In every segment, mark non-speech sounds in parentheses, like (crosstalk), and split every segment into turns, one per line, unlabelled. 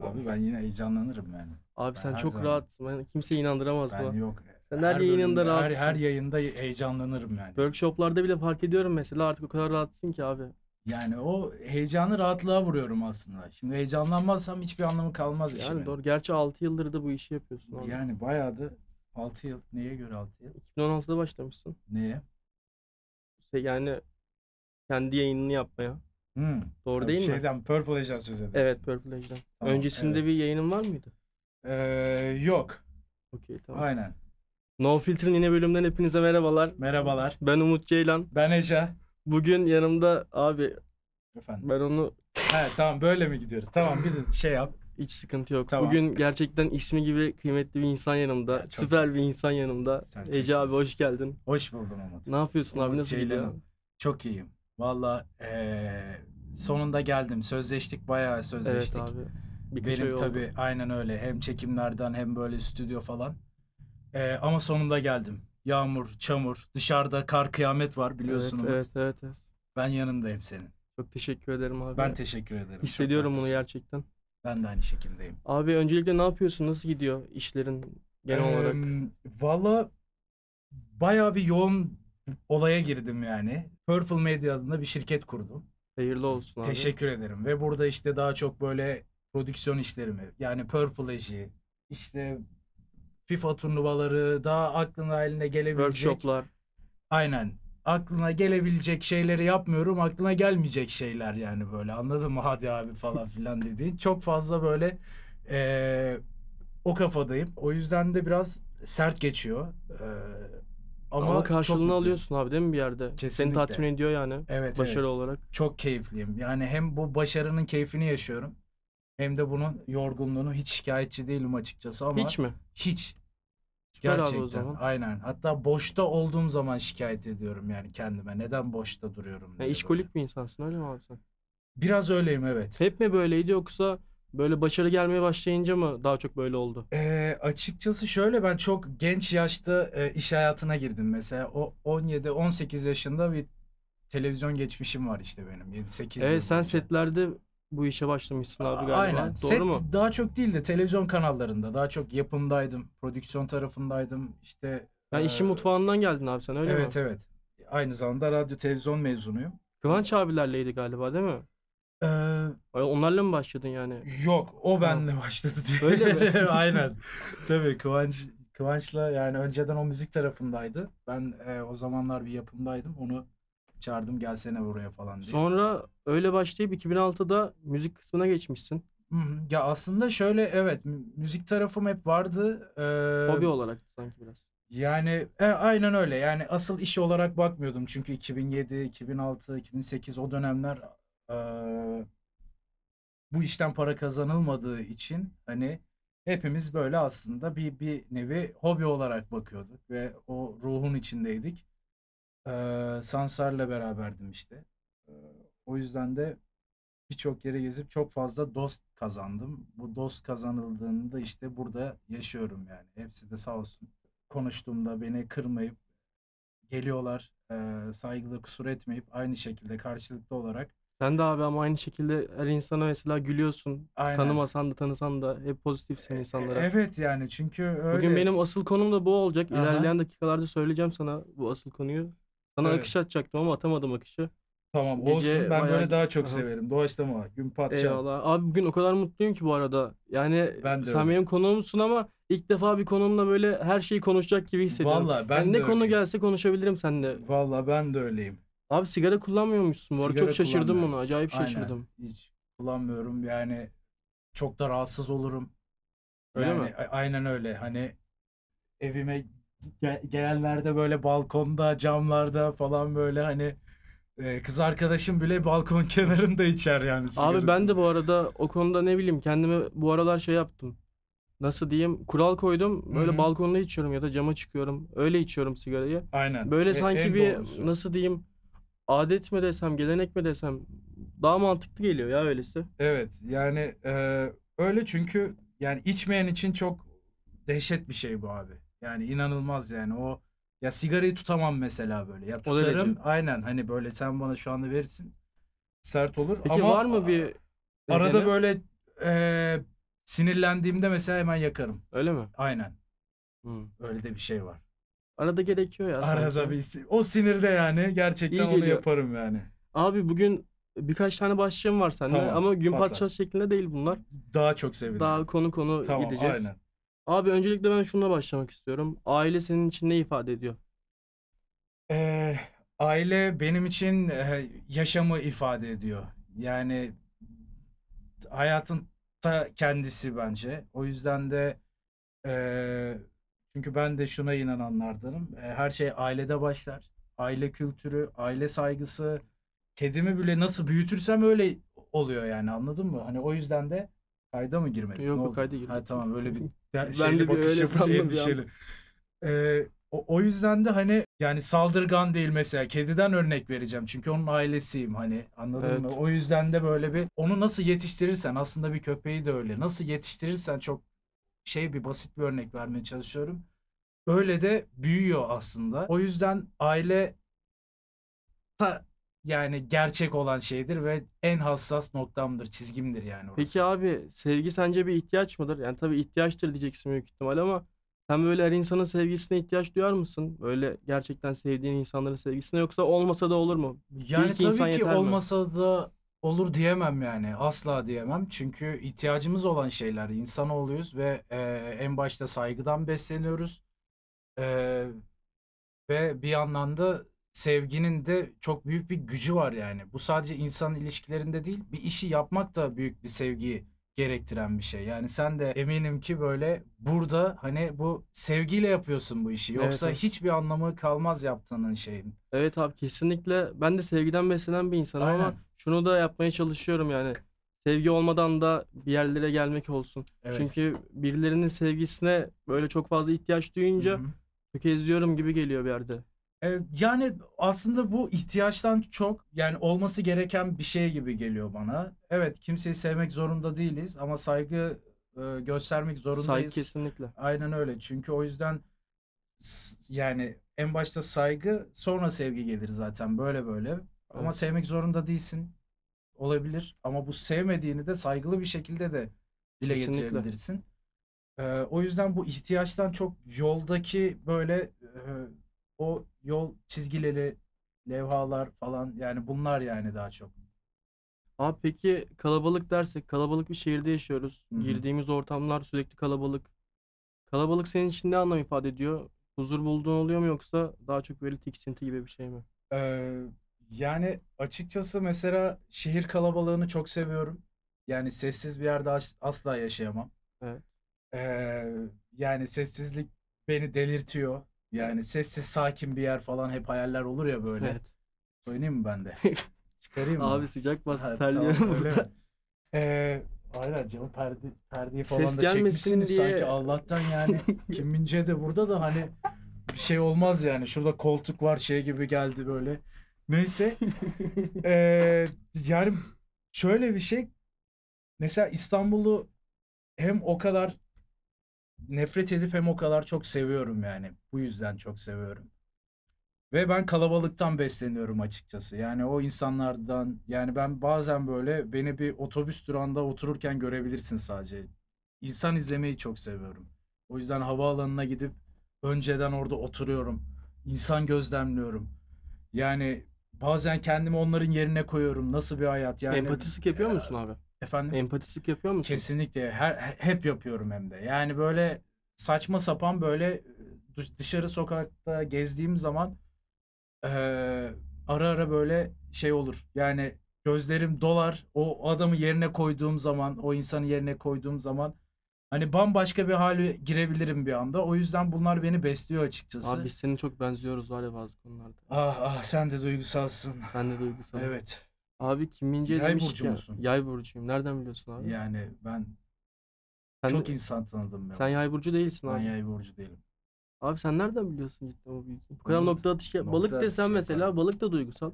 Abi ben yine heyecanlanırım yani.
Abi
Ben
sen
her
çok
zaman-
rahatsın. Ben kimse inandıramaz
Ben
bu.
yok.
Sen her yayınında
bölümde, her, her
rahatsın.
yayında heyecanlanırım yani.
Workshoplarda bile fark ediyorum mesela artık o kadar rahatsın ki abi.
Yani o heyecanı rahatlığa vuruyorum aslında. Şimdi heyecanlanmazsam hiçbir anlamı kalmaz
Yani
işimin.
doğru. Gerçi 6 yıldır da bu işi yapıyorsun abi.
şey. Yani bayağı da 6 yıl. Neye göre 6 yıl?
2016'da başlamışsın.
Neye?
Se- Yani kendi yayınını yapmaya.
Hmm.
Doğru
Tabii
değil mi?
şeyden, Purple Age'den söz ediyorsun.
Evet Purple Age'den.
Tamam,
Öncesinde
evet.
bir yayının var mıydı?
Ee, yok.
Okey tamam.
Aynen.
No Filter'ın yine bölümden hepinize merhabalar.
Merhabalar.
Ben Umut Ceylan.
Ben Ece.
Bugün yanımda abi
Efendim.
ben onu
He, tamam böyle mi gidiyoruz? Tamam bir şey yap.
hiç sıkıntı yok.
Tamam.
Bugün gerçekten ismi gibi kıymetli bir insan yanımda.
Ya, çok
Süper bir
tatlısın.
insan yanımda.
Sen çok
Ece abi
tatlısın.
hoş geldin.
Hoş buldum Umut.
Ne yapıyorsun abi
Umut
nasıl gidiyor?
Ceylan'ım. Çok iyiyim. Valla ee, sonunda geldim. Sözleştik bayağı
Evet
sözleştik.
abi. Birkaç ay
Benim
oldu.
tabii aynen öyle. Hem çekimlerden hem böyle stüdyo falan. Ee, ama sonunda geldim. Yağmur, çamur, dışarıda kar kıyamet var biliyorsun
Evet,
Umut.
evet evet evet.
Ben yanındayım senin.
Çok teşekkür ederim abi.
Ben teşekkür ederim. Çok
Hissediyorum bunu
tatlısın.
gerçekten.
Ben de aynı şekildeyim.
Abi öncelikle ne yapıyorsun? Nasıl gidiyor işlerin genel olarak?
Em, Valla bayağı bir yoğun olaya girdim yani. Purple Media adında bir şirket kurdum.
Hayırlı olsun abi.
Teşekkür ederim. Ve burada işte daha çok böyle prodüksiyon işlerimi yani Purple Age'i işte FIFA turnuvaları daha aklına haline gelebilecek.
Workshoplar.
Aynen. Aklına gelebilecek şeyleri yapmıyorum. Aklına gelmeyecek şeyler yani böyle anladın mı? Hadi abi
(laughs)
falan filan dediğin. Çok fazla böyle eee, o kafadayım. O yüzden de biraz sert geçiyor. Eee,
Ama,
ama çok
karşılığını
mutluyum.
alıyorsun abi değil mi bir yerde? Seni
Kesinlikle.
tatmin ediyor yani.
Evet,
Başarı
evet.
olarak.
Çok keyifliyim. Yani hem bu başarının keyfini yaşıyorum. Hem de bunun yorgunluğunu hiç şikayetçi değilim açıkçası ama
Hiç mi?
hiç.
Süper abi o
Gerçekten
zaman.
aynen. Hatta boşta olduğum zaman şikayet ediyorum yani kendime. Neden boşta duruyorum diye
Ya
böyle.
işkolik bir insansın öyle mi abi sen?
Biraz öyleyim evet.
Hep mi böyleydi yoksa böyle başarı gelmeye başlayınca mı daha çok böyle oldu?
Ee, açıkçası şöyle ben çok genç yaşta e, iş hayatına girdim mesela. O 17-18 yaşında bir televizyon geçmişim var işte benim. 7-8 yıl
Evet E, sen
boyunca.
setlerde bu işe başlamışsın abi
A-
galiba.
Aynen.
Doğru
Set
mu?
daha çok değil de televizyon kanallarında daha çok yapımdaydım, prodüksiyon tarafındaydım. İşte
Yani işin
e,
mutfağından geldin abi sen öyle mi?
Evet evet. Aynı zamanda radyo televizyon mezunuyum.
Kıvanç abilerleydi galiba değil mi?
Ee,
Ay, Onlarla mı başladın yani?
Yok, o benle (laughs) başladı diye.
Öyle
(laughs)
mi?
Aynen. Tabii Kıvanç Kıvanç'la yani önceden o müzik tarafındaydı. Ben e, o zamanlar bir yapımdaydım. Onu çağırdım gelsene buraya falan diye.
Sonra öyle başlayıp 2006'da müzik kısmına geçmişsin.
Hı hı. Ya aslında şöyle evet mü- müzik tarafım hep vardı. Ee,
Hobi olarak sanki biraz.
Yani e, aynen öyle. Yani asıl iş olarak bakmıyordum. Çünkü 2007, 2006, 2008 o dönemler e, bu işten para kazanılmadığı için hani hepimiz böyle aslında bir bir nevi hobi olarak bakıyorduk ve o ruhun içindeydik. E, Sansar'la beraberdim işte. E, o yüzden de birçok yere gezip çok fazla dost kazandım. Bu dost kazanıldığında işte burada yaşıyorum yani. Hepsi de sağ olsun konuştuğumda beni kırmayıp geliyorlar eee saygıda kusur etmeyip aynı şekilde karşılıklı olarak
Sen de abi ama aynı şekilde her insana mesela gülüyorsun.
aynen.
Tanımasan da tanısan da hep pozitifsin
E-
insanlara.
Evet yani çünkü öyle.
Bugün benim asıl konum da bu olacak.
Aha.
İlerleyen dakikalarda söyleyeceğim sana bu asıl konuyu. Sana
Evet.
akış atacaktım ama atamadım akışı.
tamam
gece
olsun ben
bayağı-
böyle daha çok
Aha.
severim. Doğaçlama, gün patça.
Eyvallah. Abi bugün o kadar mutluyum ki bu arada. Yani
Ben de
sen
öyle.
benim konuğumsun ama ilk defa bir konuğumla böyle her şeyi konuşacak gibi hissediyorum.
Vallahi ben
Yani
de
ne konu
öyleyim.
gelse konuşabilirim seninle.
Vallahi ben de öyleyim.
Abi sigara kullanmıyormuşsun bu arada.
Sigara
Çok şaşırdım
kullanmıyorum.
buna. Acayip
Aynen.
şaşırdım.
Hiç kullanmıyorum yani çok da rahatsız olurum.
Öyle
yani
mi?
a- aynen öyle hani evime ge- gelenlerde böyle balkonda camlarda falan böyle hani e, kız arkadaşım bile balkon (laughs) kenarında içer yani
Abi ben
sigarasını.
de bu arada o konuda ne bileyim kendime bu aralar şey yaptım. Nasıl diyeyim? Kural koydum. Böyle
Hı hı.
balkonda içiyorum ya da cama çıkıyorum. Öyle içiyorum sigarayı.
Aynen.
Böyle
E-
sanki
en
bir
doğrusu.
nasıl diyeyim adet mi desem gelenek mi desem daha mantıklı geliyor ya öylesi.
Evet yani e, öyle çünkü yani içmeyen için çok dehşet bir şey bu abi. Yani inanılmaz yani o ya sigarayı tutamam mesela böyle. Ya
O derece.
tutarım aynen hani böyle sen bana şu anda verirsin sert olur
Peki
ama
var mı bir
arada
nedeni?
böyle e, Sinirlendiğimde mesela hemen yakarım.
Öyle mi?
Aynen.
Hı.
Öyle de bir şey var.
Arada gerekiyor ya
Arada
sanki.
bir si- o sinirde yani gerçekten
İyi
onu
geliyor.
yaparım yani.
Abi bugün birkaç tane başlığım var sende
Tamam,
ama gün
patlat.
parçası şeklinde değil bunlar.
Daha çok sevinirim.
Daha konu konu
tamam,
gideceğiz.
aynen.
Abi öncelikle ben şununla başlamak istiyorum. Aile senin için ne ifade ediyor?
Eee, aile benim için eee, yaşamı ifade ediyor. Yani hayatın ta kendisi bence. O yüzden de eee, çünkü ben de şuna inananlardanım. Eee, her şey ailede başlar. Aile kültürü, aile saygısı. Kedimi bile nasıl büyütürsem öyle oluyor yani anladın mı? Hani o yüzden de kayda mı girmedik? Ne
Yok, yok,
oldu?
kayda
Ha,
girdik.
tamam öyle bir der-
Ben
şeyli
de bir
bakış
öyle
yapınca
sandım bir an.
endişeli. Ee, o, o yüzden de hani yani saldırgan değil mesela kediden örnek vereceğim çünkü onun ailesiyim hani anladın
Evet.
mı? O yüzden de böyle bir onu nasıl yetiştirirsen aslında bir köpeği de öyle nasıl yetiştirirsen çok şey bir basit bir örnek vermeye çalışıyorum. Öyle de büyüyor aslında. O yüzden aile ta, yani gerçek olan şeydir ve en hassas noktamdır, çizgimdir yani orası.
Peki abi sevgi sence bir ihtiyaç mıdır? Yani tabii ihtiyaçtır diyeceksin büyük ihtimal ama sen böyle her insanın sevgisine ihtiyaç duyar mısın? Böyle gerçekten sevdiğin insanların sevgisine yoksa olmasa da olur mu?
Yani
iki insan
tabii ki
yeter mi?
olmasa da olur diyemem yani. Asla diyemem. Çünkü ihtiyacımız olan şeyler. İnsanoğluyuz ve e, en başta saygıdan besleniyoruz. E, ve bir yandan da sevginin de çok büyük bir gücü var yani. Bu sadece insan ilişkilerinde değil, bir işi yapmak da büyük bir sevgi gerektiren bir şey. Yani sen de eminim ki böyle burada hani bu sevgiyle yapıyorsun bu işi.
Evet,
Yoksa
evet.
hiçbir anlamı kalmaz yaptığının şeyin.
Evet abi kesinlikle ben de sevgiden beslenen bir insanım ama
Aynen.
şunu da yapmaya çalışıyorum yani. Sevgi olmadan da bir yerlere gelmek olsun.
Evet.
Çünkü birilerinin sevgisine böyle çok fazla ihtiyaç duyunca
Hı hı.
tökezliyorum gibi geliyor bir yerde.
E, Yani aslında bu ihtiyaçtan çok yani olması gereken bir şey gibi geliyor bana. Evet kimseyi sevmek zorunda değiliz ama saygı e, göstermek
Saygı
zorundayız.
kesinlikle.
Aynen öyle. Çünkü o yüzden s- yani en başta saygı sonra sevgi gelir zaten böyle böyle. Ama
Evet.
sevmek zorunda değilsin. Olabilir ama bu sevmediğini de saygılı bir şekilde de dile
Kesinlikle.
getirebilirsin. Ee, o yüzden bu ihtiyaçtan çok yoldaki böyle e, o yol çizgileri, levhalar falan yani bunlar yani daha çok.
Abi peki kalabalık dersek kalabalık bir şehirde yaşıyoruz.
Hı hı.
Girdiğimiz ortamlar sürekli kalabalık. Kalabalık senin için ne anlam ifade ediyor? Huzur bulduğun oluyor mu yoksa daha çok böyle tiksinti gibi bir şey mi?
Ee, yani açıkçası mesela şehir kalabalığını çok seviyorum. Yani sessiz bir yerde as- asla yaşayamam.
Evet.
Ee, yani sessizlik beni delirtiyor. Yani sessiz sakin bir yer falan hep hayaller olur ya böyle.
Evet.
Oynayayım mı
(laughs)
ben de? Çıkarayım mı?
Abi sıcak bas
Ha,
terliyorum (laughs)
tamam, öyle
burada.
mi? Ee, aynen canım perde, perdeyi falan
Ses
da
gelmesin
çekmişsiniz
diye-
sanki Allah'tan
(laughs)
yani. Kim Min Jae de burada da hani bir şey olmaz yani. Şurada koltuk var şey gibi geldi böyle.
(laughs)
Neyse. Ee, yani şöyle bir şey. Mesela İstanbul'u hem o kadar nefret edip hem o kadar çok seviyorum yani. Bu yüzden çok seviyorum. Ve ben kalabalıktan besleniyorum açıkçası. Yani o insanlardan yani ben bazen böyle beni bir otobüs durağında otururken görebilirsin sadece. İnsan izlemeyi çok seviyorum. O yüzden havaalanına gidip önceden orada oturuyorum. İnsan gözlemliyorum. Yani bazen kendimi onların yerine koyuyorum. Nasıl bir hayat yani e,
Empatistik yapıyor musun abi?
efendim?
Empatistik yapıyor musun?
Kesinlikle her he- hep yapıyorum hem de. Yani böyle saçma sapan böyle e, dış- dışarı sokakta gezdiğim zaman e, ara ara böyle şey olur. Yani gözlerim dolar. O adamı yerine koyduğum zaman, o insanı yerine koyduğum zaman hani bambaşka bir hale girebilirim bir anda. O yüzden bunlar beni besliyor açıkçası.
Abi biz seninle çok benziyoruz var ya bazı konularda.
Ah ah sen de duygusalsın.
Ben de duygusalım.
Evet.
Abi Kim Min Jae
Yay
demiş
burcu
ki
musun?
yay burcuyum. Nereden biliyorsun abi?
Yani ben
Sen,
çok insan tanıdım ben.
sen yay burcu değilsin
Ben
abi.
yay burcu değilim.
Abi sen nereden biliyorsun cidden o bilgiyi? Bu kadar
Nokta-
nokta atışı yap. Balık
nokta
desen
atışı
mesela
yaparım.
balık da duygusal.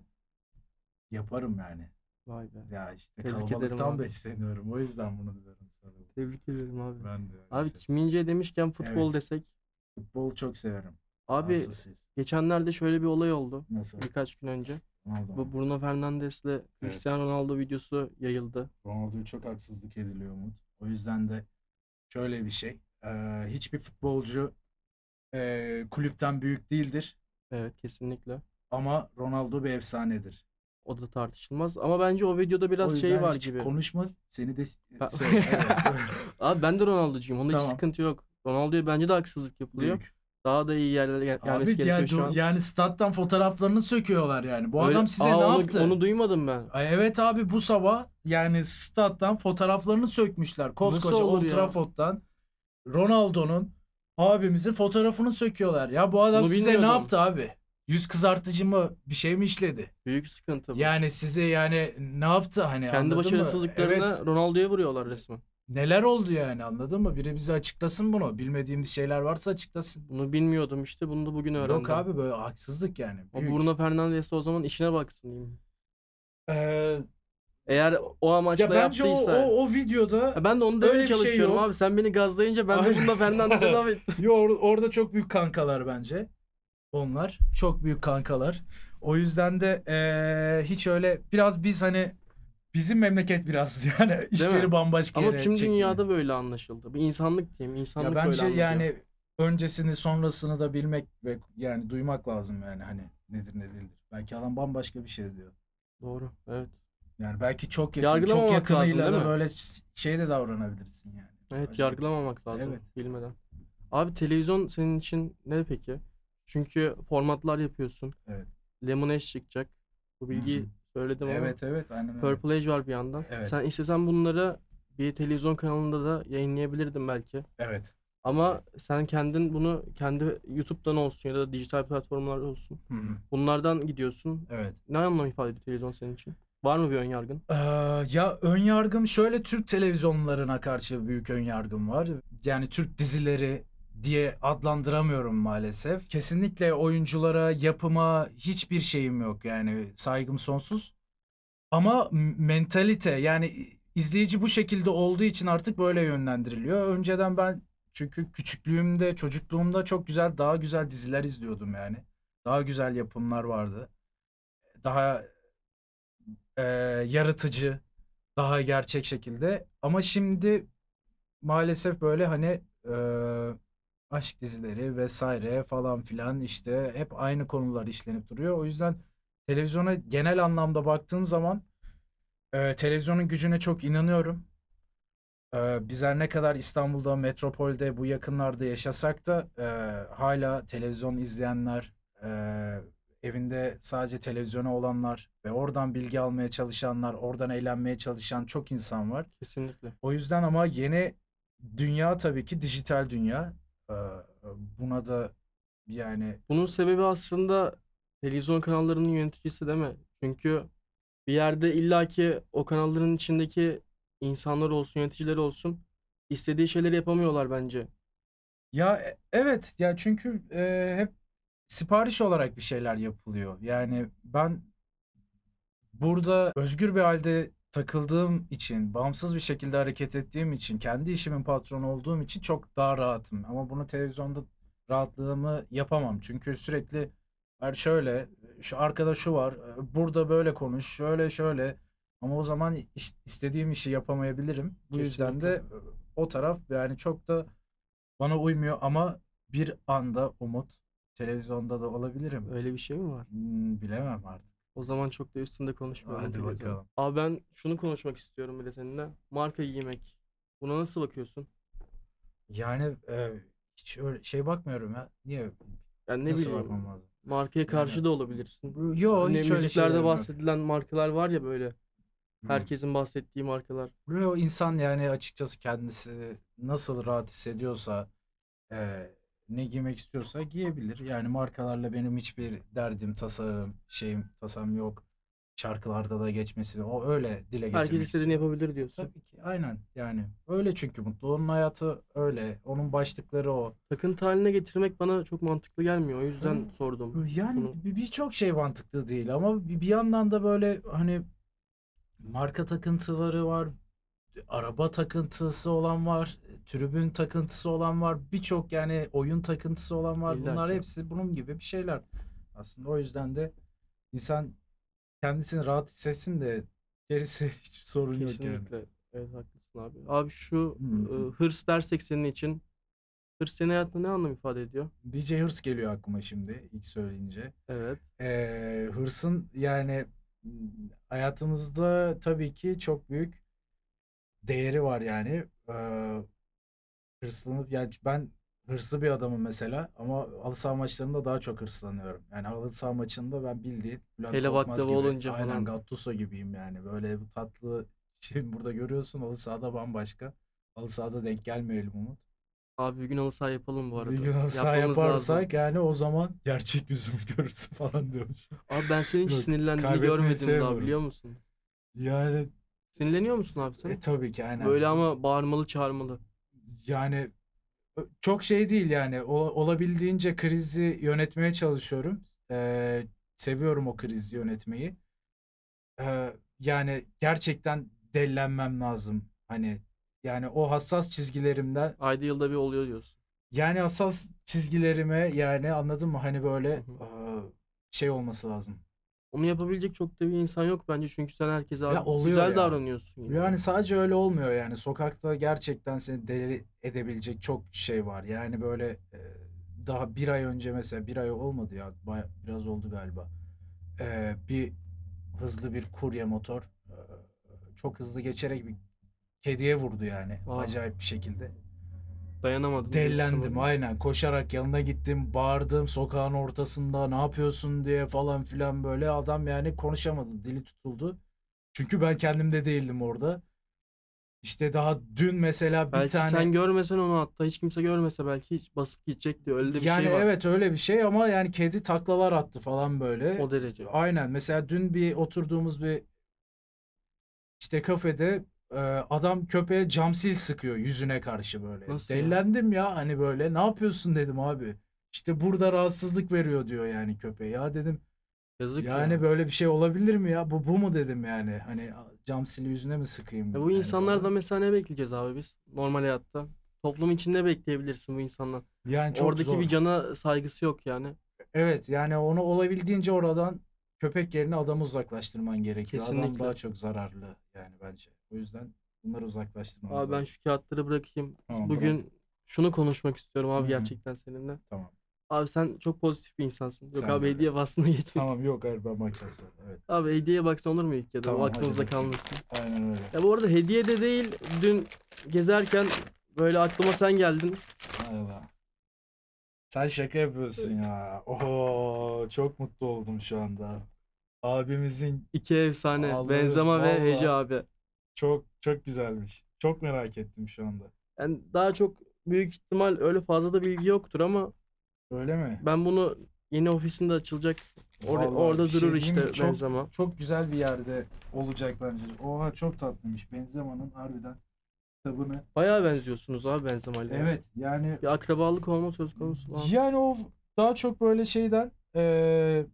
Yaparım yani.
Vay be.
Ya işte
Tebrik ederim
kalabalıktan
abi.
besleniyorum. O yüzden bunu diyorum sana.
(laughs) Tebrik ederim abi.
Ben de
Abi
öyleyse.
Kim Min Jae demişken futbol
Evet.
desek.
Futbolu çok severim.
Abi
Hastasıyız.
geçenlerde şöyle bir olay oldu.
Nasıl?
Birkaç gün önce.
Ronaldo.
Bu Bruno Fernandes'le Cristiano Ronaldo videosu yayıldı.
Ronaldo'ya çok haksızlık ediliyor Umut. O yüzden de şöyle bir şey. Ee, hiçbir futbolcu ee, kulüpten büyük değildir
Evet kesinlikle.
ama Ronaldo bir efsanedir.
O da tartışılmaz. Ama bence o videoda
O
biraz şey
yüzden
var
hiç
gibi.
Konuşma seni de (laughs)
Ben-
şey,
(laughs)
evet,
Abi ben de Ronaldo'cuyum. Onda hiç
Tamam.
sıkıntı yok. Ronaldo'ya bence de haksızlık yapılıyor.
büyük.
Daha da iyi yerlere gel- gelmesi
Abi
gerekiyor
yani,
şu an.
yani stat'tan fotoğraflarını söküyorlar yani. Bu
Öyle-
adam size
Aa,
ne
onu,
yaptı?
Onu duymadım ben.
Ay Evet abi bu sabah yani stat'tan fotoğraflarını sökmüşler. Koskoca
olur
Old
ya?
Trafford'dan Ronaldo'nun abimizin fotoğrafını söküyorlar. Ya bu adam
Bunu
size ne
bilmiyordum.
yaptı abi? Yüz kızartıcı mı bir şey mi işledi?
Büyük sıkıntı bu.
Yani size yani ne yaptı hani
Kendi
anladın mı?
başarısızlıklarını
Evet.
Ronaldo'ya vuruyorlar resmen.
Neler oldu yani anladın mı? Biri bize açıklasın bunu. Bilmediğimiz şeyler varsa açıklasın.
Bunu bilmiyordum işte. Bunu da bugün öğrendim.
Yok abi böyle haksızlık yani.
O
Büyük.
Bruno Fernandes de o zaman işine baksın diyeyim.
Ee,
Eğer o amaçla
ya bence o,
yaptıysa.
o, o videoda
Ya ben de onu
Öyle
demeye
bir şey
çalışıyorum
yok.
abi. Sen beni gazlayınca ben de
Hayır.
Bruno
(laughs)
Fernandes'e laf ettim.
Yo or- orada çok büyük kankalar bence. Onlar çok büyük kankalar. O yüzden de eee, hiç öyle biraz biz hani bizim memleket biraz (laughs) yani işleri
mi?
bambaşka
Ama
yere
tüm
çekti.
dünyada böyle anlaşıldı. Bir insanlık diyeyim.
ya
insanlık
bence
böyle anlatıyor.
yani öncesini sonrasını da bilmek ve yani duymak lazım yani hani nedir ne değildir. Belki adam bambaşka bir şey diyor.
Doğru. Evet.
Yani belki çok yakın, çok
Yargılamamak lazım,
yakınıyla
değil
da
mi?
böyle s- şey de davranabilirsin yani.
Evet
Acayip.
yargılamamak lazım
Evet.
bilmeden. Abi televizyon senin için ne peki? Çünkü formatlar yapıyorsun.
Evet.
Lemon Ash çıkacak. Bu bilgiyi
Hı hı.
söyledim ama.
Evet evet aynen öyle.
Purple Age var bir yandan.
Evet.
Sen istesen bunları bir televizyon kanalında da yayınlayabilirdin belki.
Evet.
Ama sen kendin bunu kendi YouTube'dan olsun ya da dijital platformlar olsun.
Hı hı,
Bunlardan gidiyorsun.
Evet.
Ne anlam ifade ediyor televizyon senin için? Var mı bir ön yargın?
Ee, ya ön yargım şöyle Türk televizyonlarına karşı büyük ön yargım var. Yani Türk dizileri diye adlandıramıyorum maalesef. Kesinlikle oyunculara, yapıma hiçbir şeyim yok. Yani saygım sonsuz. Ama m- mentalite yani izleyici bu şekilde olduğu için artık böyle yönlendiriliyor. Önceden ben çünkü küçüklüğümde, çocukluğumda çok güzel, daha güzel diziler izliyordum yani. Daha güzel yapımlar vardı. Daha e, yaratıcı, daha gerçek şekilde. Ama şimdi maalesef böyle hani e, aşk dizileri vesaire falan filan işte hep aynı konular işlenip duruyor. O yüzden televizyona genel anlamda baktığım zaman e, televizyonun gücüne çok inanıyorum. E, bizler ne kadar İstanbul'da, metropolde, bu yakınlarda yaşasak da e, hala televizyon izleyenler, e, evinde sadece televizyona olanlar ve oradan bilgi almaya çalışanlar, oradan eğlenmeye çalışan çok insan var.
Kesinlikle.
O yüzden ama yeni dünya tabii ki dijital dünya. Ee, Buna da yani
Bunun sebebi aslında televizyon kanallarının yöneticisi değil mi? Çünkü bir yerde illaki o kanalların içindeki insanlar olsun, yöneticiler olsun istediği şeyleri yapamıyorlar bence.
ya e- evet ya çünkü e, hep sipariş olarak bir şeyler yapılıyor. Yani ben burada özgür bir halde takıldığım için, bağımsız bir şekilde hareket ettiğim için, kendi işimin patronu olduğum için çok daha rahatım. Ama bunu televizyonda rahatlığımı yapamam. Çünkü sürekli "Hayır şöyle, şu arkada şu var, e, burada böyle konuş, şöyle şöyle. Ama o zaman iş- istediğim işi yapamayabilirim. Bu yüzden de
Kesinlikle.
e, o taraf yani çok da bana uymuyor ama bir anda umut televizyonda da olabilirim.
Öyle bir şey mi var?
Hmm, bilemem artık.
O zaman çok da üstünde konuşmayalım
Hadi
televizyonun.
bakalım.
Abi ben şunu konuşmak istiyorum bir de seninle. Marka giymek. Buna nasıl bakıyorsun?
Yani e, hiç öyle şey bakmıyorum ya. Niye?
Yani ne
Nasıl
bileyim.
bakmam lazım?
Markaya karşı da olabilirsin.
Yo
Hani
hiç öyle şeylerim
müziklerde
yok.
bahsedilen markalar var ya böyle.
Hı.
Herkesin bahsettiği markalar.
Yo, insan yani açıkçası kendisi nasıl rahat hissediyorsa e, ne giymek istiyorsa giyebilir. Yani markalarla benim hiçbir derdim, tasarım, şeyim, tasam yok. Şarkılarda da geçmesi o öyle dile getirmek
Herkes istediğini
istiyorum.
yapabilir diyorsun.
Tabii ki aynen yani öyle çünkü mutlu onun hayatı öyle onun başlıkları o.
Takıntı haline getirmek bana çok mantıklı gelmiyor. O yüzden
Hı.
sordum.
Yani
Bunu-
bir- birçok şey mantıklı değil ama bir bir yandan da böyle hani marka takıntıları var, araba takıntısı olan var, tribün takıntısı olan var, birçok yani oyun takıntısı olan var.
İlla
Bunlar
ki.
hepsi bunun gibi bir şeyler. Aslında o yüzden de insan kendisini rahat hissetsin de gerisi (laughs) hiç sorun yok yani.
Kesinlikle. Evet haklısın. yapamazsın abi. Abi şu
Hı hı.
e, hırs dersek senin için hırs senin hayatında ne anlam ifade ediyor?
DJ Hırs geliyor aklıma şimdi ilk söyleyince.
Evet.
Ee, hırsın yani m, hayatımızda tabii ki çok büyük değeri var yani. Ee, hırslanıp yani ben hırslı bir adamım mesela ama halı saha maçlarında daha çok hırslanıyorum. Yani halı saha maçında ben bildiğin Bülent
Hele
Korkmaz
baklava
gibi,
olunca
aynen
falan.
Gattuso gibiyim yani. Böyle bu tatlı (laughs) şey burada görüyorsun halı sahada bambaşka. Halı sahada denk gelmeyelim Umut.
Abi bir gün halı saha yapalım bu arada.
Bir gün halı saha
Yapmamız lazım.
yaparsak yani o zaman gerçek yüzümü (laughs) görürsün falan diyormuş.
Abi ben senin hiç
Yok,
sinirlendiğini
kaybetmeyi
görmedim daha
sevmiyorum.
biliyor musun?
Yani
Sinirleniyor musun abi sen?
E tabii ki aynen.
Böyle ama bağırmalı çağırmalı.
Yani ö- çok şey değil yani Ola- olabildiğince krizi yönetmeye çalışıyorum. Ee, seviyorum o krizi yönetmeyi. Ee, yani gerçekten dellenmem lazım. Hani yani o hassas çizgilerimden
Ayda yılda bir oluyor diyorsun.
yani hassas çizgilerime yani anladın mı? Hani böyle
Hı
e, şey olması lazım.
Onu yapabilecek çok da bir insan yok bence çünkü sen herkese
Ya
abi
oluyor
güzel
ya.
davranıyorsun. yani.
Yani sadece öyle olmuyor yani sokakta gerçekten seni deli edebilecek çok şey var. Yani böyle e, daha bir ay önce mesela bir ay olmadı ya baya- biraz oldu galiba. E, bir hızlı bir kurye motor e, çok hızlı geçerek bir kediye vurdu yani
Aa.
acayip bir şekilde.
Dayanamadın. büyük
Delilendim
ihtimalle.
aynen koşarak yanına gittim bağırdım sokağın ortasında ne yapıyorsun diye falan filan böyle adam yani konuşamadı dili tutuldu. Çünkü ben kendimde değildim orada. İşte daha dün mesela bir
Belki
tane
sen görmesen onu hatta hiç kimse görmese belki hiç basıp gidecekti. Öyle de bir
yani
şey var.
evet öyle bir şey ama yani kedi taklalar attı falan böyle.
O derece.
Aynen mesela dün bir oturduğumuz bir işte kafede e, adam köpeğe cam sil sıkıyor yüzüne karşı böyle.
Nasıl ya?
Delilendim ya hani böyle ne yapıyorsun dedim abi. İşte burada rahatsızlık veriyor diyor yani köpeğe. Ya dedim
Yazık
yani
ya.
böyle bir şey olabilir mi ya? Bu bu mu dedim yani. Hani a- cam sili yüzüne mi sıkayım
Ya E, bu
yani
insanlardan
falan.
mesela ne bekleyeceğiz abi biz normal hayatta? Toplum içinde bekleyebilirsin bu insanlar.
Yani çok
Oradaki
zor.
bir cana saygısı yok yani.
Evet yani onu olabildiğince oradan köpek yerine adamı uzaklaştırman gerekiyor. Adam
Kesinlikle.
daha çok zararlı yani bence. O yüzden bunları uzaklaştırmamız
Abi ben
lazım.
şu kağıtları bırakayım.
Tamam, bırak.
Bugün şunu konuşmak istiyorum abi
Hı hı.
gerçekten seninle.
Tamam.
Abi sen çok pozitif bir insansın. Yok
Sen de
abi
öyle.
hediye (laughs) bahsına geçtim.
Tamam yok hayır ben bakacağım sonra. Evet.
Abi hediyeye baksan olur mu ilk ya da
Tamam,
o
hadi
aklımızda
bakayım.
kalmasın.
Aynen öyle.
Ya bu arada hediye de değil. Dün gezerken böyle aklıma sen geldin.
Merhaba. Sen şaka yapıyorsun ya. Oho çok mutlu oldum şu anda. Abimizin
İki efsane.
Vallahi,
Benzema ve Hece
vallahi.
abi.
çok çok güzelmiş. Çok merak ettim şu anda.
Yani daha çok büyük ihtimal öyle fazla da bilgi yoktur ama
Öyle mi?
ben bunu yeni ofisinde açılacak or-
Vallahi
orada
bir şey
durur
diyeyim mi?
işte
Çok-
Benzema.
Çok güzel bir yerde olacak bence. Oha çok tatlıymış. Benzema'nın harbiden kitabını.
Bayağı benziyorsunuz abi Benzema'yla. ya.
Evet yani
Bir akrabalık olma söz konusu var.
yani o daha çok böyle şeyden eee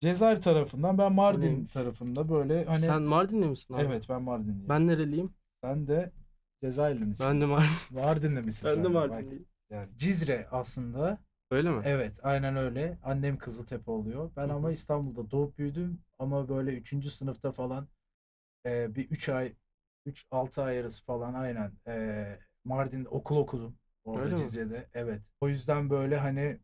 Cezayir tarafından ben Mardin
Neymiş?
tarafında böyle hani
Sen Mardinli misin abi?
evet ben Mardinliyim.
Ben nereliyim?
Sen de Cezayirli misin?
Ben de Mardin.
Mardinli misin
Ben
sen
de
de? Bak,
Mardinliyim.
yani Cizre aslında.
Öyle mi?
Evet, aynen öyle. Annem Kızıltepe oluyor. Ben
Hı
ama
hı.
İstanbul'da doğup büyüdüm ama böyle 3. sınıfta falan e, bir 3 ay 3-6 ay arası falan aynen e, Mardin'de okul okudum orada
Öyle mi?
Cizre'de. Evet. O yüzden böyle hani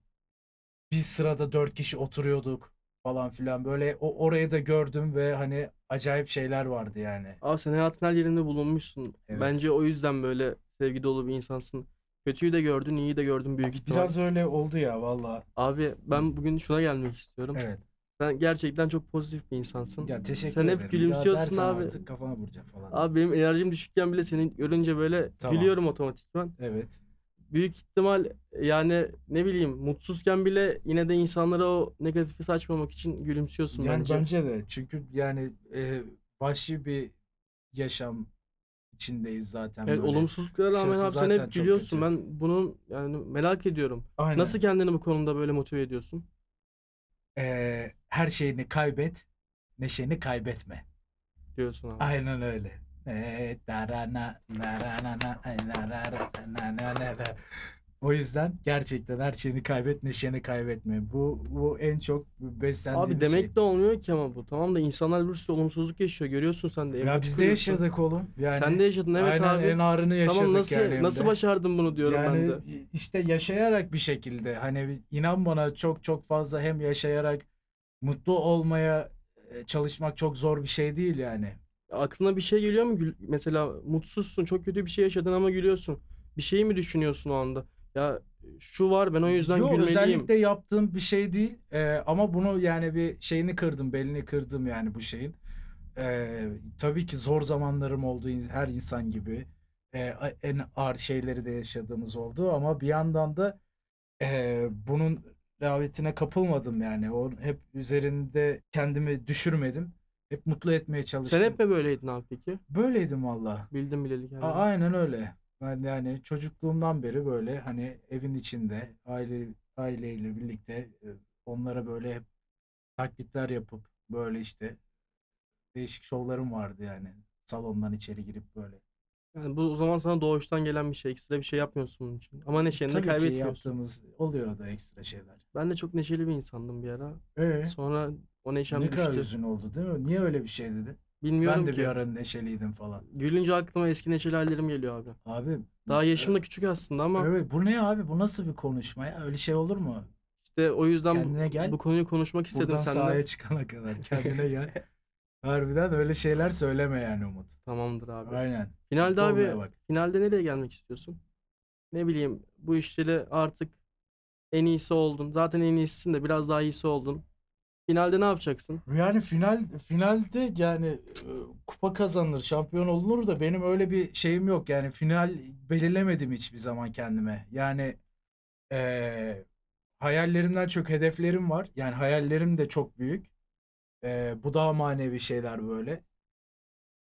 bir sırada 4 kişi oturuyorduk falan filan böyle o orayı da gördüm ve hani acayip şeyler vardı yani.
Abi sen hayatın her yerinde bulunmuşsun.
Evet.
Bence o yüzden böyle sevgi dolu bir insansın. Kötüyü de gördün, iyiyi de gördün büyük ihtimal.
Biraz öyle oldu ya valla.
Abi ben bugün şuna gelmek istiyorum.
Evet.
Sen gerçekten çok pozitif bir insansın.
Ya teşekkür
Sen hep
ederim. Ya
gülümsüyorsun
dersen
abi.
artık kafana vuracağım falan.
Abi benim enerjim düşükken bile seni görünce böyle
Tamam.
gülüyorum otomatikman.
Evet.
Büyük ihtimal yani ne bileyim mutsuzken bile yine de insanlara o negatifi saçmamak için gülümsüyorsun
Yani
bence.
bence de çünkü yani e, vahşi bir yaşam içindeyiz zaten
Evet,
böyle.
olumsuzluklara rağmen
Dışarısı
abi sen hep
zaten çok
gülüyorsun.
kötü.
Ben bunun yani merak ediyorum.
Aynen.
Nasıl kendini bu konuda böyle motive ediyorsun?
E, her şeyini kaybet, neşeni kaybetme.
Diyorsun abi.
Aynen öyle. E, darana, darana, ay, narara, na, na, na, na. O yüzden gerçekten her şeyini kaybet, neşeni kaybetme. Bu bu en çok beslendiğim
Abi
şey.
demek de olmuyor ki ama bu. Tamam da insanlar bir sürü olumsuzluk yaşıyor. Görüyorsun sen de.
şey. Ya
empati
biz de
kuruyorsun.
yaşadık oğlum. Yani
Sen de yaşadın evet
aynen
abi.
en ağrını yaşadık
Tamam nasıl
yani hem
nasıl
de.
başardın bunu diyorum ben
Yani
de.
işte yaşayarak bir şekilde hani bir- inan bana çok çok fazla hem yaşayarak mutlu olmaya e, çalışmak çok zor bir şey değil yani.
Aklına bir şey geliyor mu? Gül- Mesela mutsuzsun, çok kötü bir şey yaşadın ama gülüyorsun. Bir şeyi mi düşünüyorsun o anda? Ya şu var ben o yüzden
Yo,
gülmeliyim.
özellikle yaptığım bir şey değil E, ama bunu yani bir şeyini kırdım belini kırdım yani bu şeyin. E, tabii ki zor zamanlarım oldu in- her insan gibi. E, a- en ağır şeyleri de yaşadığımız oldu ama bir yandan da e, bunun rehavetine kapılmadım yani. O hep üzerinde kendimi düşürmedim. Hep mutlu etmeye çalıştım.
Sen hep mi böyleydin abi peki?
Böyleydim valla.
Bildim bileli
A-
kendini.
Aynen öyle. Ben de yani çocukluğumdan beri böyle hani evin içinde aile aileyle birlikte e, onlara böyle hep taklitler yapıp böyle işte değişik şovlarım vardı yani. Salondan içeri girip böyle.
Yani bu o zaman sana doğuştan gelen bir şey. Ekstra bir şey yapmıyorsun bunun için. Ama neşeni de
Tabii ki
kaybetmiyorsun.
yaptığımız oluyor da ekstra şeyler.
Ben de çok neşeli bir insandım bir ara.
Ee,
Sonra o neşem
ne
düştü.
kadar üzün oldu değil mi? Niye öyle bir şey dedi?
şey Bilmiyorum
Ben de
ki.
bir ara neşeliydim falan.
Gülünce aklıma eski neşeli hallerim geliyor abi.
Abi
Daha yaşım da küçük aslında ama
Evet, bu ne abi? Bu nasıl bir konuşma ya? Öyle şey olur mu?
işte o yüzden bu-
Kendine gel.
bu konuyu konuşmak istedim
Buradan
seninle.
sahaya çıkana kadar kendine gel. Harbiden öyle şeyler söyleme yani Umut.
Tamamdır abi.
Aynen.
Finalde
Mutlu
abi
olmaya bak.
finalde nereye gelmek istiyorsun? Ne bileyim bu işleri artık en iyisi oldun. Zaten en iyisisin de biraz daha iyisi oldun. Finalde ne yapacaksın?
Yani final finalde yani e, kupa kazanılır, şampiyon olunur da benim öyle bir şeyim yok. Yani final belirlemedim hiçbir zaman kendime. Yani e, hayallerimden çok hedeflerim var. Yani hayallerim de çok büyük. E, bu daha manevi şeyler böyle.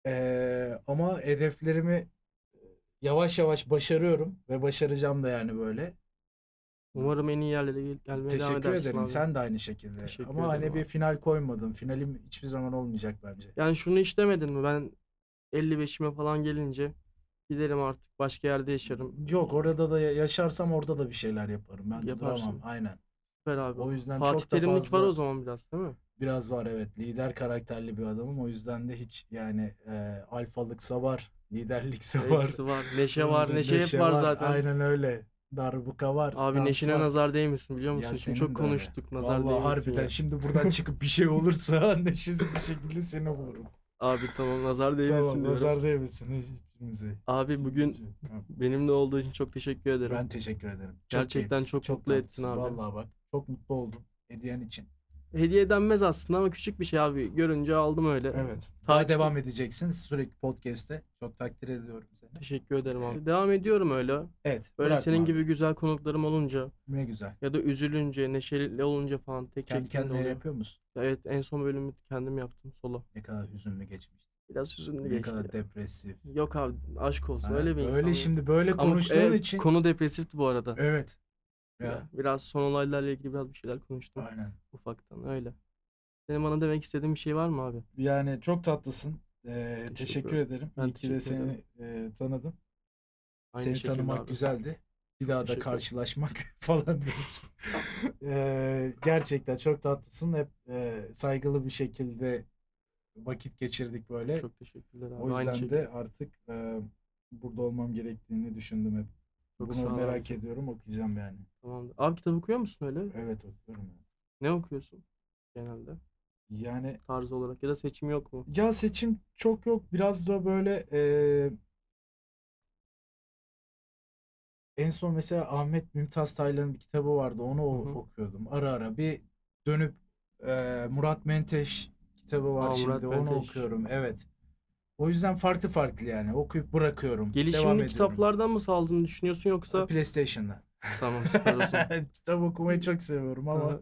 E, ama hedeflerimi e, yavaş yavaş başarıyorum ve başaracağım da yani böyle.
Umarım en iyi yerlere gel- gelmeye devam
Teşekkür
edersin
ederim.
abi.
Sen de aynı şekilde.
Teşekkür
Ama hani
ederim
bir
abi.
final koymadım. Finalim hiçbir zaman olmayacak bence.
Yani şunu hiç demedin mi? Ben 55'ime falan gelince giderim artık başka yerde yaşarım.
Yok orada da ya- yaşarsam orada da bir şeyler yaparım. Ben
Yaparsın.
duramam. Aynen.
Süper abi.
O yüzden
Fatih
çok da
Terimlik
fazla
var o zaman biraz değil mi?
biraz var evet. Lider karakterli bir adamım. O yüzden de hiç yani e, alfalıksa var. Liderlikse var.
Hepsi var. Neşe var.
Öyle
Neşe hep var zaten.
Aynen öyle. Darbuka var.
Abi
dans
Neşe'ne
var.
nazar değmesin biliyor
Ya
musun? Çünkü
senin
çok
de öyle.
konuştuk. Nazar
Vallahi
değmesin
harbiden
ya.
şimdi
(laughs)
buradan çıkıp bir şey olursa (laughs) neşesiz bir şekilde seni bulurum.
Abi tamam nazar değmesin
Tamam
diyorum.
nazar değmesin hiçbirimize.
Abi bugün
Tamam.
benimle olduğu için çok teşekkür ederim.
Ben teşekkür ederim.
Gerçekten
keyiflisin,
çok mutlu ettin
tatlısın.
abi.
Vallahi bak çok mutlu oldum hediyen için.
Hediye denmez aslında ama küçük bir şey abi. Görünce aldım öyle.
Evet. Daha
Takip-
devam edeceksin sürekli podcast'te. Çok takdir ediyorum seni.
Teşekkür ederim abi. Devam ediyorum öyle.
Evet.
Böyle
bırakma
senin
abi.
gibi güzel konuklarım olunca
ne güzel.
ya da üzülünce, neşeli olunca falan tek
Kendi
çekimde
kendine
oluyor.
yapıyor musun?
Evet en son bölümü kendim yaptım solo.
Ne kadar hüzünlü geçmiş.
Biraz hüzünlü
Ne
geçti.
kadar
ya.
depresif.
Yok abi aşk olsun
Ha,
öyle bir insan. ya.
şimdi böyle
Ama
konuştuğun
evet,
için.
Konu depresifti bu arada.
Evet. Ya,
Ya, Biraz son olaylarla ilgili biraz bir şeyler konuştum
aynen.
ufaktan öyle. Senin bana demek istediğin bir şey var mı abi?
Yani çok tatlısın. Ee, teşekkür,
ederim.
ederim.
Ben
İyi ki de
teşekkür
seni e, tanıdım.
Aynı
Seni
şekilde
tanımak
abi.
güzeldi. Bir daha da
Teşekkür ederim.
karşılaşmak (laughs) falan diyoruz. Eee, gerçekten çok tatlısın. Hep eee, saygılı bir şekilde vakit geçirdik böyle.
Çok teşekkürler abi.
o
Aynı
yüzden
şekilde.
de artık eee, burada olmam gerektiğini düşündüm hep.
Çok
Bunu
sağ ol
merak
abicim.
ediyorum. Okuyacağım yani.
Tamamdır. Abi kitap okuyor musun öyle?
Evet okuyorum. yani.
Ne okuyorsun genelde?
Yani
Tarz olarak ya da seçim yok mu?
ya seçim çok yok. Biraz da böyle eee, en son mesela Ahmet Mümtaz Taylan'ın bir kitabı vardı. Onu o-
Hı hı.
okuyordum. Ara ara bir dönüp eee, Murat Menteş kitabı var
Aa,
şimdi.
Murat
Onu
Menteş.
okuyorum. Evet. O yüzden farklı farklı yani. Okuyup bırakıyorum. Devam
Gelişimini
ediyorum.
kitaplardan mı saldığını düşünüyorsun yoksa?
PlayStation'da.
(laughs) tamam
(laughs)
süper olsun.
Kitap okumayı çok seviyorum ama
Aha.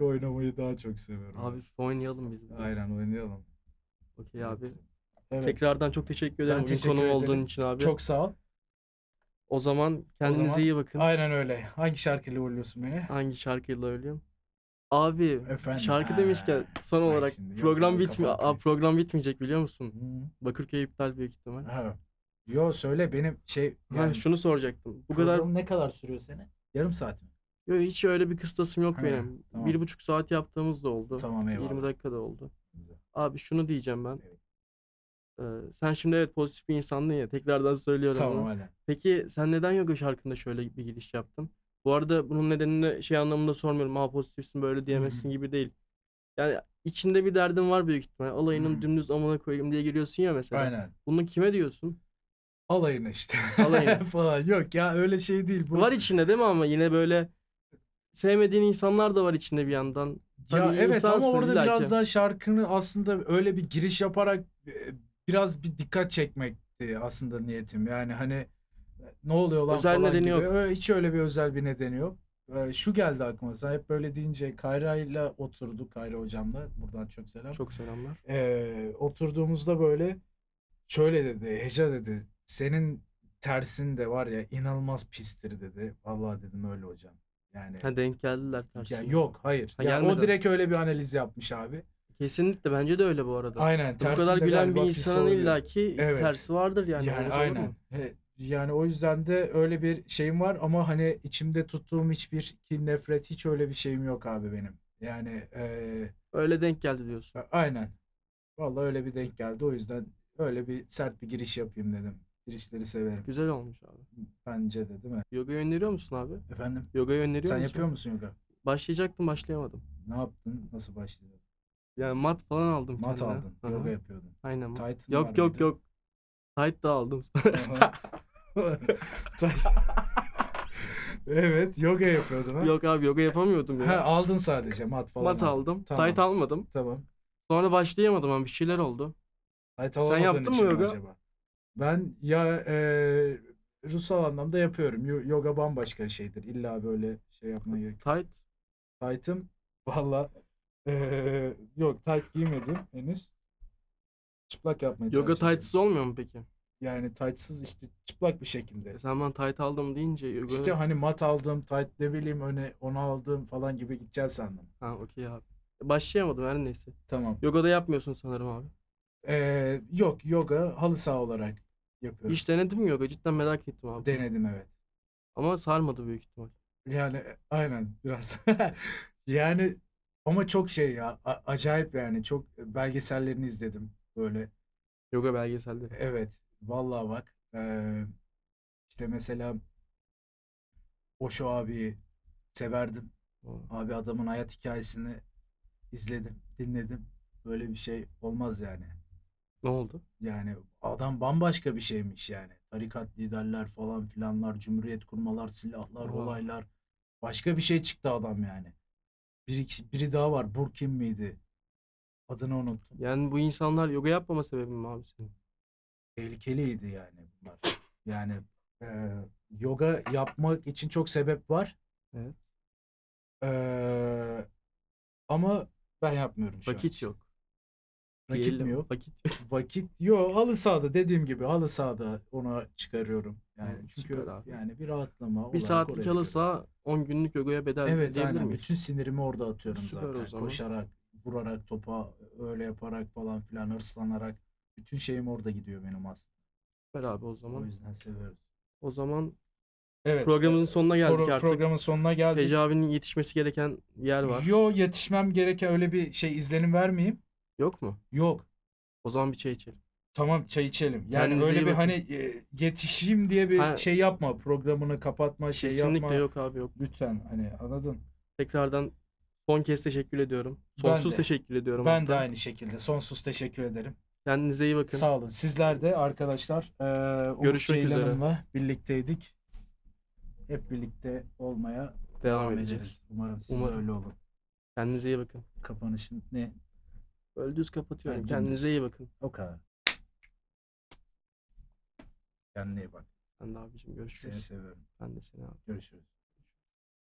oynamayı daha çok seviyorum.
Abi oynayalım biz. bir de.
Aynen oynayalım.
Okey abi.
Evet.
Tekrardan çok teşekkür ederim
Ben
bugün
teşekkür
konuğum olduğun
ederim.
için abi.
Çok sağ ol.
O zaman kendinize
zaman-
iyi bakın.
Aynen öyle. Hangi şarkıyla uğurluyorsun beni?
Hangi şarkıyla ölüyorum? Abi
Efendim.
şarkı
Ha.
demişken son
bak
olarak
şimdi, yok,
program
yok,
bitmiyor.
kafam
Aa, program bitmeyecek biliyor musun?
Hı.
Bakırköy iptal büyük ihtimal.
Ha. Yo söyle benim şey
Ha,
yani
şunu soracaktım. Bu kadar
Program ne kadar sürüyor seni?
yarım saat mi?
Yo, hiç öyle bir kıstasım yok
Ha,
benim.
tamam.
Bir buçuk saat yaptığımız da oldu.
Tamam
20
eyvallah.
dakika da oldu.
Güzel.
Abi şunu diyeceğim ben.
Evet.
Ee, sen şimdi evet pozitif bir insandın ya. Tekrardan söylüyorum
Tamam
ama.
hala.
Peki sen neden yoga şarkında şöyle bir giriş yaptın? Bu arada bunun nedenini şey anlamında sormuyorum. Ha pozitifsin böyle diyemezsin gibi değil. Yani içinde bir derdin var büyük ihtimal. Alayının
Hı.
dümdüz amına koyayım diye giriyorsun ya mesela.
Aynen.
Bunu kime diyorsun?
Alayına işte. (laughs)
Alayına.
falan. Yok ya öyle şey değil. Bu...
Var içinde değil mi ama yine böyle sevmediğin insanlar da var içinde bir yandan.
Ya
Tabii
evet ama
Hani insansın
orada
illa
biraz
ki.
daha şarkını aslında öyle bir giriş yaparak e, biraz bir dikkat çekmekti aslında niyetim. Yani hani e, ne oluyor lan
Özel
falan
nedeni
gibi.
yok.
Ö- Hiç öyle bir özel bir nedeni yok. E, Şu geldi aklıma. Sen hep böyle deyince Kayra'yla oturduk. Kayra hocamla. Buradan çok selam.
Çok selamlar.
Ee, oturduğumuzda böyle şöyle dedi. Heca dedi. Senin tersin de var ya inanılmaz pistir dedi. Vallahi dedim öyle hocam. Yani
Ha denk geldiler
ya
tersine.
yok hayır.
Ha,
Ya o
gelmedi.
direkt öyle bir analiz yapmış abi.
Kesinlikle bence de öyle bu arada.
Aynen.
Bu
tersinde
kadar gülen bir
galiba pis
insanın
oluyor.
illaki
Evet.
tersi vardır yani.
Yani
Olmaz olur mu?
aynen. He, yani o yüzden de öyle bir şeyim var ama hani içimde tuttuğum hiçbir kin, nefret hiç öyle bir şeyim yok abi benim. Yani eee,
Öyle denk geldi diyorsun.
a- aynen. Vallahi öyle bir denk geldi. O yüzden öyle bir sert bir giriş yapayım dedim. Girişleri severim.
Güzel olmuş abi.
Bence de değil mi?
Yoga öneriyor musun abi?
Efendim?
Yoga öneriyor
Sen
musun?
yapıyor musun yoga?
Başlayacaktım başlayamadım.
Ne yaptın? Nasıl başladın?
Yani mat falan aldım
Mat
kendime.
aldın.
Aha,
Yoga yapıyordun.
Aynen mat.
Titan var
Yok yok
mıydı?
yok. Tight da aldım.
Aha. (laughs) Evet, yoga yapıyordun ha.
(laughs) yok abi yoga yapamıyordum ya.
Ha, aldın sadece mat falan.
mat
aldın.
aldım.
Tamam.
Tight almadım.
Tamam.
Sonra başlayamadım ama bir şeyler oldu.
Hayat
Sen
alamadığın
yaptın mı
için mi
yoga?
acaba? Ben ya e, ruhsal anlamda yapıyorum. Yo- yoga bambaşka şeydir. İlla böyle şey yapmaya gerek. yok.
Tight.
Tight'ım valla e, yok tight giymedim henüz. Çıplak yapmayı
Yoga
tercih ediyorum.
tightsız olmuyor mu peki?
Yani tightsız işte çıplak bir şekilde.
E sen ben tight aldım deyince yoga...
İşte hani mat aldım, tight ne bileyim öne onu aldım falan gibi gideceğiz sandım.
Ha okey abi. Başlayamadım her neyse.
Tamam.
Yoga da yapmıyorsun sanırım abi.
E, yok yoga halı saha olarak yapıyorum.
Hiç denedim mi yoga? Cidden merak ettim abi.
Denedim evet.
Ama sarmadı büyük ihtimal.
Yani e, aynen biraz. (laughs) Yani ama çok şey ya a- acayip yani çok belgesellerini izledim böyle.
Yoga belgeselleri.
Evet vallahi bak eee, işte mesela Osho abiyi severdim.
Aa.
Abi adamın hayat hikayesini izledim, dinledim. Böyle bir şey olmaz yani.
Ne oldu?
Yani adam bambaşka bir şeymiş yani. Tarikat liderler falan filanlar, cumhuriyet kurmalar, silahlar,
Oha.
olaylar. Başka bir şey çıktı adam yani. Biri, biri daha var. Burkin miydi? Adını unuttum.
Yani bu insanlar yoga yapmama sebebi mi abi senin?
Tehlikeliydi yani bunlar. Yani e, yoga yapmak için çok sebep var.
Evet.
E, ama ben yapmıyorum şu an
Vakit
için.
yok.
Rakip
Diyelim.
mi yok?
(laughs) Vakit
Vakit yok halı sahada dediğim gibi halı sahada ona çıkarıyorum. Yani
Hı,
çünkü
süper abi.
yani bir rahatlama
Bir
olarak oraya
saatlik
göre.
alırsa 10 günlük yogaya bedel
Evet
diyebilir
aynen
miyiz?
bütün sinirimi orada atıyorum
Süper o
zaten.
zaman.
Koşarak, vurarak topa öyle yaparak falan filan hırslanarak bütün şeyim orada gidiyor benim aslında.
Süper abi o
O
zaman.
yüzden seviyorum.
O zaman
Evet.
programımızın
e,
sonuna geldik
pro-
artık.
Programın sonuna geldik.
Ece abinin yetişmesi gereken yer var.
Yo yetişmem gereken öyle bir şey izlenim vermeyeyim.
Yok mu?
Yok.
O zaman bir çay içelim.
Tamam çay içelim. Yani
Kendinize
öyle bir
iyi bakın.
hani e, yetişeyim diye bir
Ha.
şey yapma. Programını kapatma, şey
Kesinlikle
yapma.
yok abi yok.
Lütfen hani anladın.
Tekrardan son kez teşekkür ediyorum.
Ben
Sonsuz
de.
teşekkür ediyorum.
Ben
hatta.
de aynı şekilde sonsuz teşekkür ederim.
Kendinize iyi bakın.
Sağ olun. Sizler de arkadaşlar eee Umut
Görüşmek üzere.
Ceylan'ımla birlikteydik. Hep birlikte olmaya
Devam,
devam
edeceğiz.
ederiz. Umarım siz de
Umarım.
öyle olun.
Kendinize iyi bakın.
Kapanışın ne?
Böyle düz kapatıyorum.
Ben dümdüz.
Kendinize iyi bakın.
O kadar. Kendine iyi bak.
Ben de abicim
Seni
görüşürüz.
seviyorum.
Ben de seni abi.
Görüşürüz.